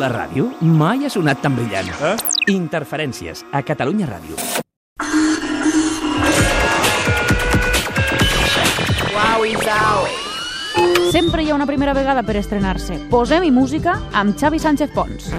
La ràdio mai ha sonat tan brillant. Eh? Interferències a Catalunya Ràdio. Sempre hi ha una primera vegada per estrenar-se. Posem-hi música amb Xavi Sánchez Pons.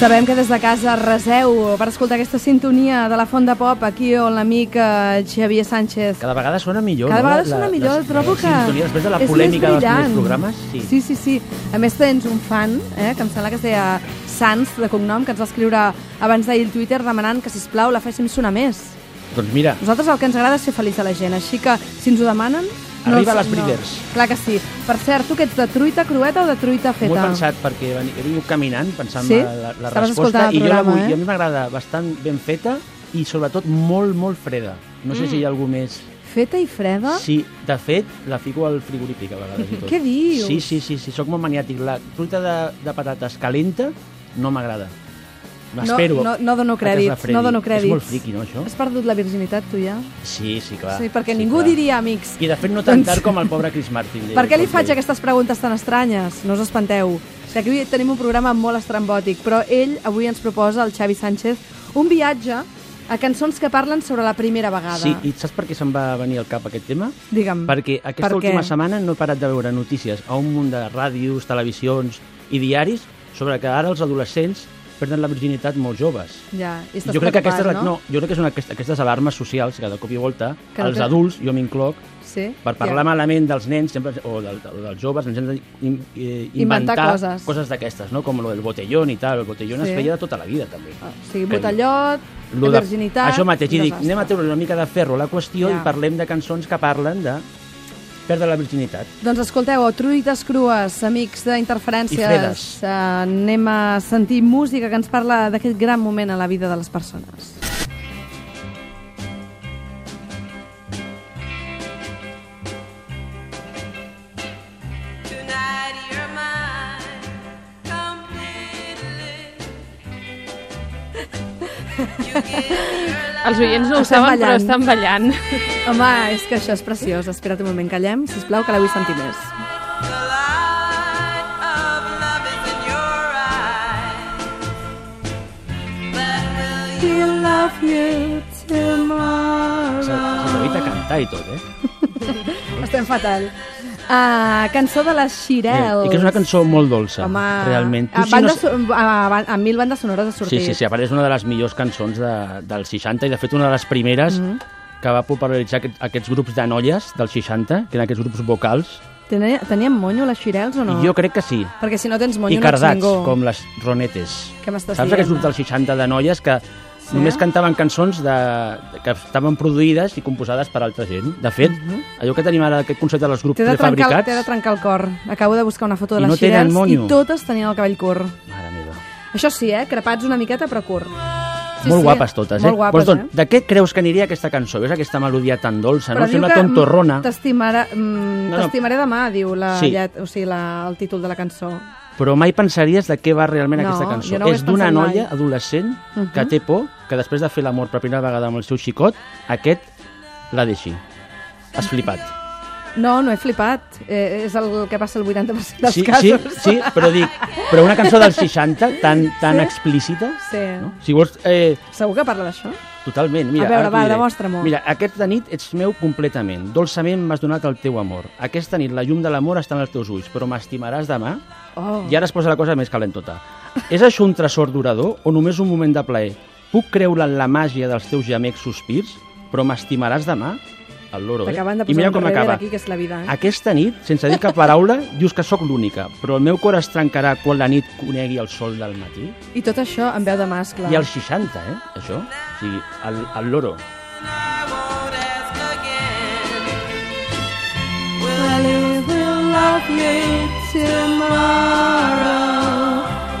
Sabem que des de casa reseu per escoltar aquesta sintonia de la Font de Pop aquí on l'amic eh, Xavier Sánchez. Cada vegada sona millor, Cada no? vegada La- sona millor, la, trobo que... La sintonia, després de la és polèmica més dels primers brillant. programes, sí. Sí, sí, sí. A més, tens un fan, eh, que em sembla que es deia Sans, de cognom, que ens va escriure abans d'ahir al Twitter demanant que, si plau la féssim sonar més. Doncs mira, Nosaltres el que ens agrada és fer feliç a la gent, així que, si ens ho demanen... els- Arriba a les primers. No. Clar que sí. Per cert, tu que ets de truita crueta o de truita m'ho feta? he pensat perquè veni- he vingut caminant pensant Sí? en la, la Estaves resposta escoltant el i jo la vull, programa, eh? i a mi m'agrada bastant ben feta i sobretot molt, molt freda. No Mm. sé si hi ha algú més. Feta i freda? Sí, de fet, la fico al frigorífic a vegades i tot. Què dius? Sí, sí, sí, sí, sóc molt maniàtic. La fruita de, de patates calenta no m'agrada. M'espero. No, no, no dono a que es crèdits, refredi. no dono crèdits. És molt friqui, no, això? Has perdut la virginitat, tu, ja? Sí, sí, clar. sí, perquè ningú clar. diria amics. I de fet no tan Doncs- tard com el pobre Chris Martin. Per què li faig Perquè- aquestes preguntes tan estranyes? No us espanteu. Que aquí tenim un programa molt estrambòtic, però ell avui ens proposa, el Xavi Sánchez, un viatge a cançons que parlen sobre la primera vegada. Sí, i saps per què se'm va venir al cap aquest tema? Digue'm. Perquè aquesta Per què? última setmana no he parat de veure notícies a un munt de ràdios, televisions i diaris sobre que ara els adolescents perden la virginitat molt joves. Ja, i estàs Jo crec, que preocupat, aquesta, és la- no? no, jo crec que són aquestes, aquestes alarmes socials que de cop i volta Que no els té- adults, jo m'incloc, Sí? per parlar malament dels nens sempre, o, del, o dels joves ens hem d'inventar Inventar coses. coses d'aquestes, no? com el botellón i tal. El botellón Sí. es feia de tota la vida, també. O sigui, Que- botellot, Lo de- virginitat... Això mateix, i dic, desastre. anem a treure una mica de ferro a la qüestió Ja. i parlem de cançons que parlen de perdre la virginitat. Doncs escolteu, o truites crues, amics I d'interferències, fredes. eh, anem a sentir música que ens parla d'aquest gran moment a la vida de les persones. Tonight you're mine completely. You give me your life. Els oients no ho Estan saben, però ballant. estan ballant. Home, és que això és preciós. Espera't un moment, callem, sisplau, que la vull sentir més. The light of love is in your eyes. But will you love you tomorrow? Ah. S'evita cantar i tot, eh? Estem fatal. Ah, cançó de les Xirels. I Eh, que és una cançó molt dolça, Home, ah, realment. Tu, a, si banda, no... so- a, a, a mil bandes sonores ha Sí, sortit. sí, sí, a part és una de les millors cançons de, del 60 i, de fet, una de les primeres Mhm. mm -hmm. que va popularitzar aquest, aquests grups de noies del 60, que eren aquests grups vocals. Tenia, tenien monyo les Xirels o no? I jo crec que sí. Perquè si no tens I monyo no ets cardats, ningú. com les ronetes. Què m'estàs Saps dient? aquests grups del 60 de noies que sí. només cantaven cançons de, que estaven produïdes i composades per altra gent? De fet, allò que tenim ara, aquest concepte dels grups Mhm. T'he de, trencar, el- prefabricats... t'he de trencar el cor. Acabo de buscar una foto de I les no tenen Xirels monyo. i totes tenien el cabell curt. Mare meva. Això sí, eh? Crepats una miqueta, però curt. Sí, molt sí. guapes totes, eh? Molt guapes, doncs, doncs, eh? De què creus que aniria aquesta cançó? Ves aquesta melodia tan dolça, Però no? diu Sembla que, mm, tontorrona, T'estimaré mm, No, no. t'estimaré demà, diu la Sí. llet, o sigui, la, el títol de la cançó. però mai pensaries de què va realment No, aquesta jo cançó. no ho és hagués d'una pensat mai. noia adolescent que té por que després de fer l'amor per primera vegada amb el seu xicot, aquest la deixi. Has flipat. No, no he flipat. Eh, és el que passa el 80% dels sí, sí, casos. sí, però dic, però una cançó dels 60 tan, tan explícita, Sí. no? si vols, eh, Segur que parla d'això? totalment. Mira, A veure, ara t'ho va, diré. demostra-m'ho. Mira, aquesta nit ets meu completament, dolçament m'has donat el teu amor. Aquesta nit la llum de l'amor està en els teus ulls, però m'estimaràs demà? Oh. I ara es posa la cosa més calentota. És això un tresor durador o només un moment de plaer? Puc creure en la màgia dels teus gemecs sospirs? Però m'estimaràs demà? El loro, eh? T'acaben de I posar mira un com rever acaba. aquí, que és la vida. Eh? Aquesta nit, sense dir cap paraula, dius que sóc l'única, però el meu cor es trencarà quan la nit conegui el sol del matí. I tot això en veu de mascle. I als 60, eh, això? O sigui, el, el loro. I won't ask again.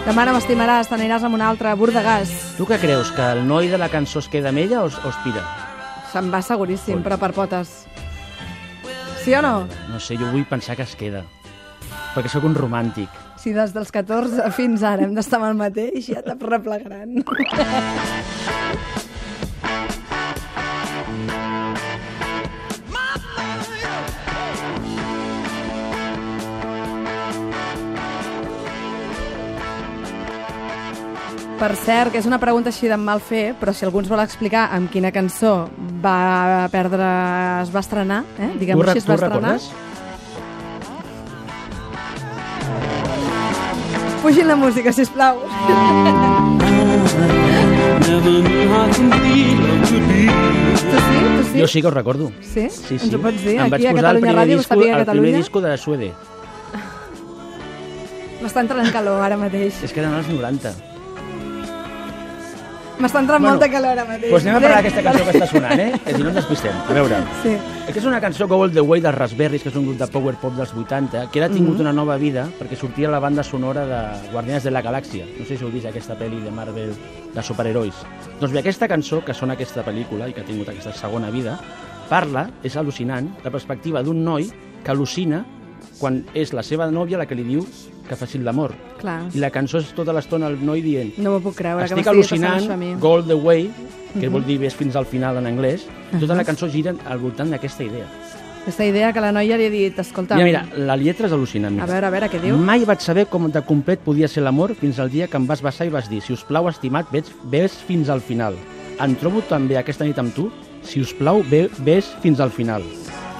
Demà no m'estimaràs, t'aniràs amb un altre, bordegàs. Tu què creus, que el noi de la cançó es queda amb ella o, es- o es pira? Se'n va seguríssim, però per potes. Sí o no? No sé, jo vull pensar que es queda. Perquè sóc un romàntic. Si des dels 14 fins ara hem d'estar amb el mateix, ja t'ha replegant. Per cert, que és una pregunta així de mal fer, però si algú ens vol explicar amb quina cançó va perdre... es va estrenar, eh? Tu, diguem-ho re- així, es va tu estrenar. recordes? Pugin la música, si plau. Tu sí? Tu sí? Jo sí que ho recordo. Sí? Sí, sí. Ens ho pots dir? Em vaig Aquí a posar el Catalunya primer, Ràdio, disco, ho sabia el primer Catalunya. disco de Suede. M'està entrant calor ara mateix. És que eren els 90. M'està entrant Bueno, molta calor ara mateix. Doncs pues anem a parlar d'aquesta Vale. cançó que està sonant, eh? Que si no ens despistem. A veure. Sí. És que és una cançó que vol The Way dels Raspberries, que és un grup de power pop dels 80, que ara ha tingut una nova vida perquè sortia a la banda sonora de Guardians de la Galàxia. No sé si heu vist aquesta pel·li de Marvel de superherois. Doncs bé, aquesta cançó, que sona aquesta pel·lícula i que ha tingut aquesta segona vida, parla, és al·lucinant, la perspectiva d'un noi que al·lucina quan és la seva nòvia la que li diu que facin l'amor. Clar. I la cançó és tota l'estona el noi dient No m'ho puc creure, que estic m'estigui passant al·lucinant, això a mi. go all the way, Mhm. que vol dir ves fins al final en anglès, tota la cançó gira al voltant d'aquesta idea. Aquesta idea que la noia li ha dit, escolta... Mira, mira, Mm. la lletra és al·lucinant. A Mira. veure, a veure, què diu? Mai vaig saber com de complet podia ser l'amor fins al dia que em vas baixar i vas dir si us plau, estimat, ves, ves fins al final. Em trobo també aquesta nit amb tu, si us plau, ve, ves fins al final.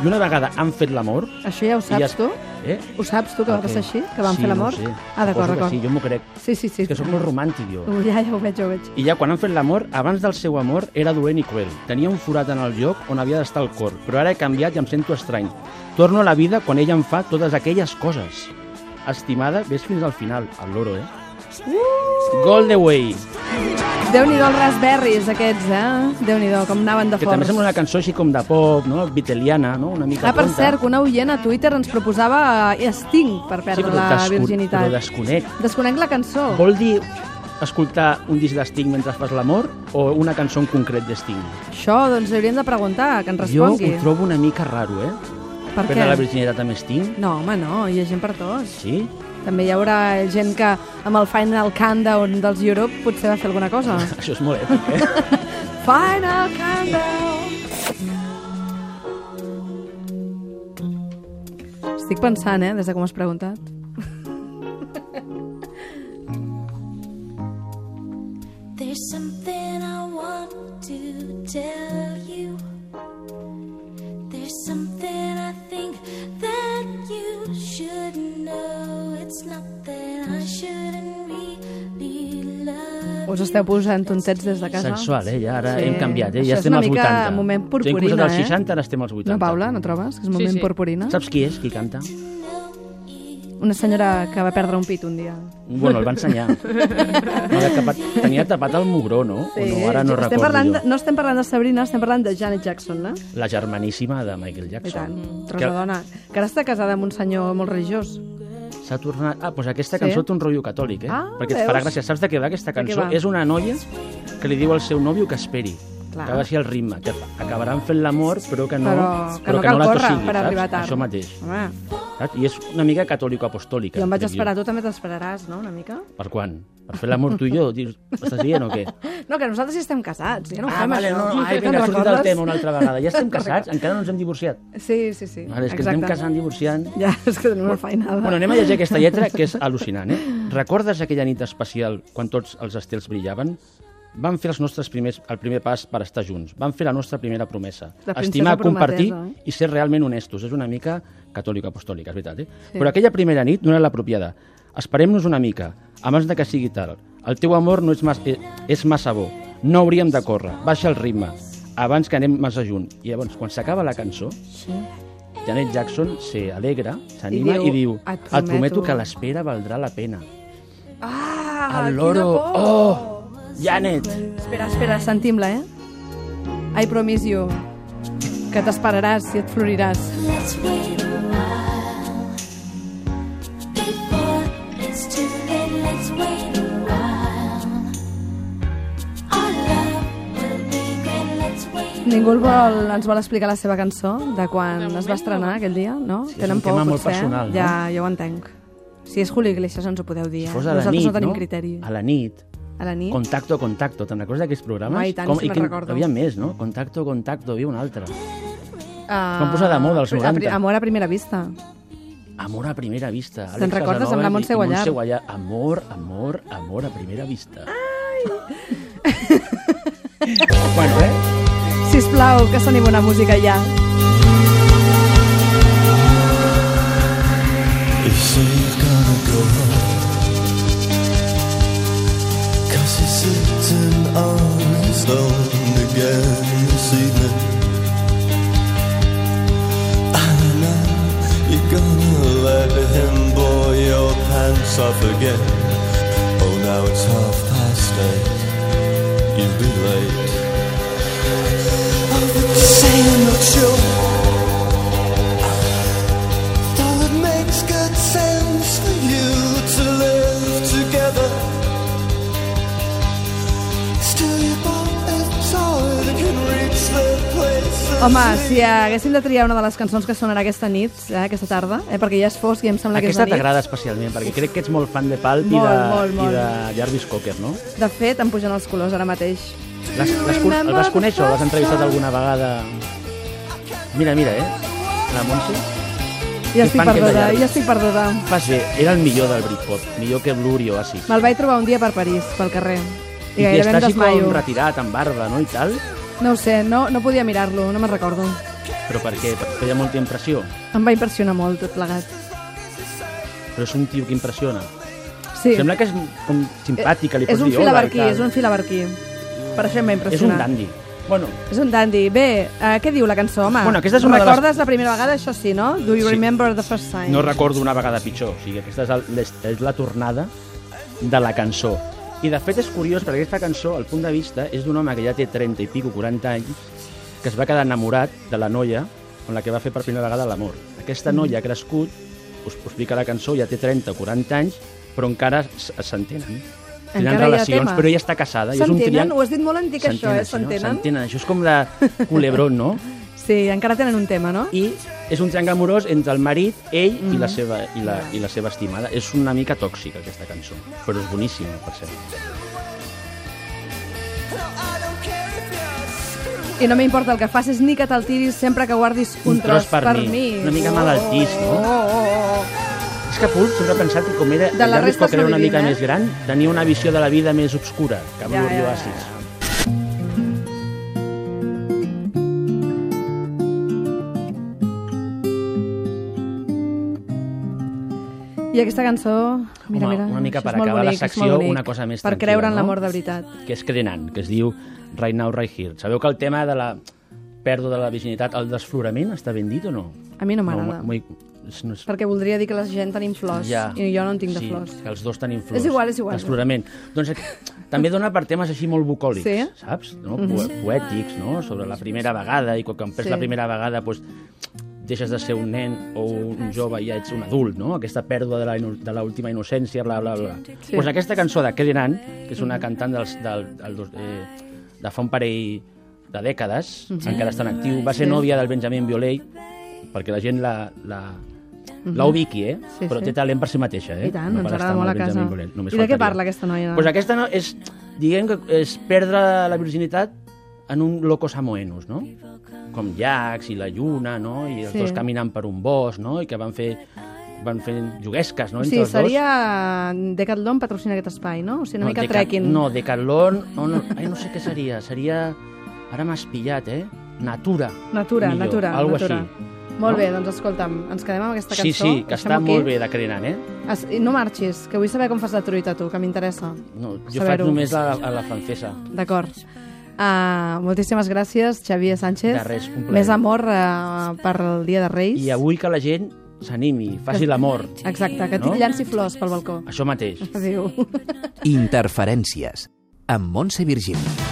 I una vegada han fet l'amor... Això ja ho i saps, ja tu? Eh? Ho saps, tu, que va Ok. passar així? Que van sí, fer l'amor? No ho sé. Ah, d'acord, Suposo que d'acord. Sí, jo m'ho crec. Sí, sí, sí. És que sóc molt romàntic, jo. Uh, ja, ja ho veig, ja ho veig. I ja quan han fet l'amor, abans del seu amor era dolent i cruel. Tenia un forat en el lloc on havia d'estar el cor, però ara he canviat i em sento estrany. Torno a la vida quan ella em fa totes aquelles coses. Estimada, ves fins al final, el loro, eh? Uh! Gold the Way, Déu-n'hi-do els raspberries, aquests, eh? Déu-n'hi-do, com anaven de que també forts. sembla una cançó així com de pop, no? Viteliana, no? Una mica Ah, per tonta. cert, que una oient a Twitter ens proposava eh, Sting per sí, perdre però, la desco- virginitat. però desconec. Desconec la cançó. Vol dir escoltar un disc d'Sting mentre fas l'amor o una cançó en concret d'Sting? Això, doncs, li hauríem de preguntar, que ens Jo ho respongui. trobo una mica raro, eh? Per Perdre què? la virginitat amb Sting? No, home, no, hi ha gent per tots. Sí? També hi haurà gent que amb el Final Countdown dels Europe potser va fer alguna cosa. Això és molt èpic, eh? Final Countdown! Estic pensant, eh, des de com has preguntat. There's something I want to tell you. There's something I think that you should know. It's not that I shouldn't really love Us esteu posant tontets des de casa? Sensual, eh? Ja ara Sí. sí. hem canviat, eh? Això Ja és estem una als mica 80. moment Hem purpurina, posat als eh? 60, ara estem als 80. No, Paula, no trobes? Que és moment sí, sí. purpurina. Saps qui és, qui canta? Una senyora que va perdre un pit un dia. Bueno, el va ensenyar. Era tapat, tenia tapat el mugró, no? O no ara no estem recordo parlant, jo. de, no estem parlant de Sabrina, estem parlant de Janet Jackson, no? La germaníssima de Michael I tant, Jackson. tros de dona. Que ara està casada amb un senyor molt religiós. S'ha tornat... Ah, doncs aquesta Sí. cançó té un rotllo catòlic, eh? Ah, Perquè et veus? farà gràcia. Saps de què va aquesta De què cançó? va? És una noia que li diu al seu nòvio que esperi. Clar. Que baixi el ritme, que acabaran fent l'amor, però que no, però que no cal la córrer tossiguis, per saps? arribar tard. Això mateix. Home, Saps? I és una mica catòlico-apostòlica. jo em vaig dic esperar, tu també t'esperaràs, no?, una mica? Per quan? Per fer l'amor tu i jo? Dius, estàs dient o què? No, que nosaltres ja estem casats, ja no ho Ah, fem, vale, això. no, no, ai, Te'n vinga, sortim del recordes? tema una altra vegada. Ja estem casats, encara no ens hem divorciat. Sí, sí, sí, Ara, és que ens exacte. anem casant, divorciant... Ja, és que tenim una feinada. Bueno, anem a llegir aquesta lletra, que és al·lucinant, eh? Recordes aquella nit especial quan tots els estels brillaven? Vam fer els nostres primers, el primer pas per estar junts. Vam fer la nostra primera promesa. La princesa Estimar, compartir prometesa, eh? i ser realment honestos. És una mica catòlica-apostòlica, és veritat, eh? Però aquella primera nit no era l'apropiada. Esperem-nos una mica, abans de que sigui tard. El teu amor no és, mas, eh, és massa bo. No hauríem de córrer. Baixa el ritme abans que anem massa junt. I llavors, quan s'acaba la cançó, Janet Jackson se alegra, s'anima i, diu, diu "Et et prometo, prometo que l'espera valdrà la pena. Ah, quina el loro. por! Oh, Janet! Espera, espera, sentim-la, eh? I promise you que t'esperaràs i et floriràs. Let's wait a while before it's too late. Let's wait a while. Our love will be great. Let's wait a Ningú el vol, ens vol explicar la seva cançó de quan es va estrenar aquell dia, no? és un tema molt personal, no? eh? Ja, jo ho entenc. Si és Julio Iglesias ens ho podeu dir, eh? Si fos a la Nosaltres nit, no tenim no? criteri. A la nit, A la nit? Contacto, contacto. Te'n recordes d'aquests programes? Home, i tant, si i me'n quin- recordo. Hi havia més, no? Contacto, contacto, hi havia un altre. Ah, van posar de moda als a pri- 90. Amor a primera vista. Amor a primera vista. Te'n recordes amb la Montse Guallar? Guallar. Amor, amor, amor a primera vista. Ah, Ai! bueno, eh? Sisplau, que soni bona música ja. If she's gonna go home Cause she's sitting on the stone again this evening I know you're gonna let him blow your pants off again Oh now it's half past eight You'll be late Saying not sure Though it makes good sense for you to live together, still you won't enjoy that can reach the place. of Home, sleep. si haguéssim de triar una de les cançons que sonarà aquesta nit, eh, aquesta tarda, eh, perquè ja és fosc i em sembla que és de Aquesta nit. t'agrada especialment, perquè crec que ets molt fan de Palp i Molt, de, molt, molt. i de Jarvis Cocker, no? De fet, em pugen els colors ara mateix. Les, les, con- el vas conèixer o l'has entrevistat alguna vegada? Mira, mira, eh? La Montse. Ja estic fan que perduda, ballar. ja estic perduda. Fas bé, era el millor del Britpop, millor que Blur i Oasis. Me'l vaig trobar un dia per París, pel carrer. I, I que gairebé està em així desmaio. com retirat, amb barba, no?, i tal. No ho sé, no, no podia mirar-lo, no me'n recordo. Però per què? Perquè feia molta impressió. Em va impressionar molt tot plegat. Però és un tio que impressiona. Sí. Eh, Sembla que és com simpàtic, que li és pots un dir hola i filabarquí, tal. és un filabarquí. Per això em va És un impressionar. dandy. Bueno, És un dandy. Bé, eh, què diu la cançó, home? Bueno, aquesta és una de les- Recordes la primera vegada, això sí, no? Do you Sí. remember the first time? no recordo una vegada pitjor. O sigui, aquesta és, el, és, és la tornada de la cançó. I de fet és curiós perquè aquesta cançó, al punt de vista, és d'un home que ja té 30 i pico, 40 anys, que es va quedar enamorat de la noia amb la que va fer per primera vegada l'amor. Aquesta noia ha crescut, us, us explica la cançó, ja té 30 o 40 anys, però encara s- s'entenen. Tenen Encara hi ha relacions, tema. però ella està casada. i és un S'entenen? triangle- Ho has dit molt antic, això, eh? sí, no? S'entenen? S'entenen. Això és com de culebrón, no? Sí, encara tenen un tema, no? i és un triangle amorós entre el marit, ell mm -hmm. i, la seva, i, la, i la seva estimada. És una mica tòxica, aquesta cançó, però és boníssima, per cert. I no m'importa el que facis ni que te'l tiris sempre que guardis un, tros, per, mi. Una mica malaltís, no? Oh, oh, oh. És que Pulp sempre ha pensat que com era De la Jarvis resta Cocker era una sobrevivim, mica eh? més gran, tenia una visió de la vida més obscura que Blur ja, i ja. Oasis. I aquesta cançó, mira, Home, mira, una mica això per és molt acabar la bonic, és secció, molt bonic. una cosa més Per tranquil·la, creure en no? l'amor de veritat. que és Crenan, que es diu Right Now, Right Here. Sabeu que el tema de la pèrdua de la virginitat, el desflorament, està ben dit o no? A mi no m'agrada. No, m'ho- és- no és Perquè voldria dir que la gent tenim flors Ja. i jo no en tinc de sí, Eh? flors. que els dos tenim flors. És igual, és igual. Desflorament. Doncs eh, també dona per temes així molt bucòlics, Sí. Mhm. saps? No? Po poètics, no? Sobre la primera vegada, i quan quan perds Sí. la primera vegada, doncs, deixes de ser un nen o un jove i ja ets un adult, no? Aquesta pèrdua de la inu- de l'última innocència, bla, bla, bla. Doncs Sí. Mhm. sí. pues aquesta cançó de Kelly Nan, que és una cantant dels, del, del, dos- eh, de fa un parell de dècades, encara està en actiu, va ser Mhm. Sí. nòvia del Benjamin Biolay, perquè la gent la, la, la ubiqui, eh? Mhm. Sí, Però sí. té talent per si mateixa, eh? I tant, ens per agrada estar amb molt el a casa. Benjamin Bollet, només I de què faltaria. parla aquesta noia? Pues aquesta no, és, diguem que és perdre la virginitat en un loco samoenus, no? Com llacs i la lluna, no? I els Sí. sí. dos caminant per un bosc, no? I que van fer van fent juguesques, no? O Entre sigui, els dos. seria eh, Decathlon patrocina aquest espai, no? O sigui, una mica Deca- trekking. No, Decathlon... No, no, ai, no sé què seria. Seria... Ara m'has pillat, eh? Natura. Natura, millor, natura, algo natura. Així. Molt No? bé, doncs escolta'm, ens quedem amb aquesta Sí, cançó. sí, que està deixem-ho molt aquí. bé de Crenan, eh? Es- i No marxis, que vull saber com fas la truita, tu, que m'interessa. No, jo faig Saber-ho. només la, a la francesa. D'acord. Uh, moltíssimes gràcies, Xavier Sánchez. De res, un plaer. Més amor uh, per el Dia de Reis. I avui que la gent s'animi, faci l'amor. Exacte, que no? No? llanci flors pel balcó. Això mateix. Adéu. Interferències amb Montse Virgili.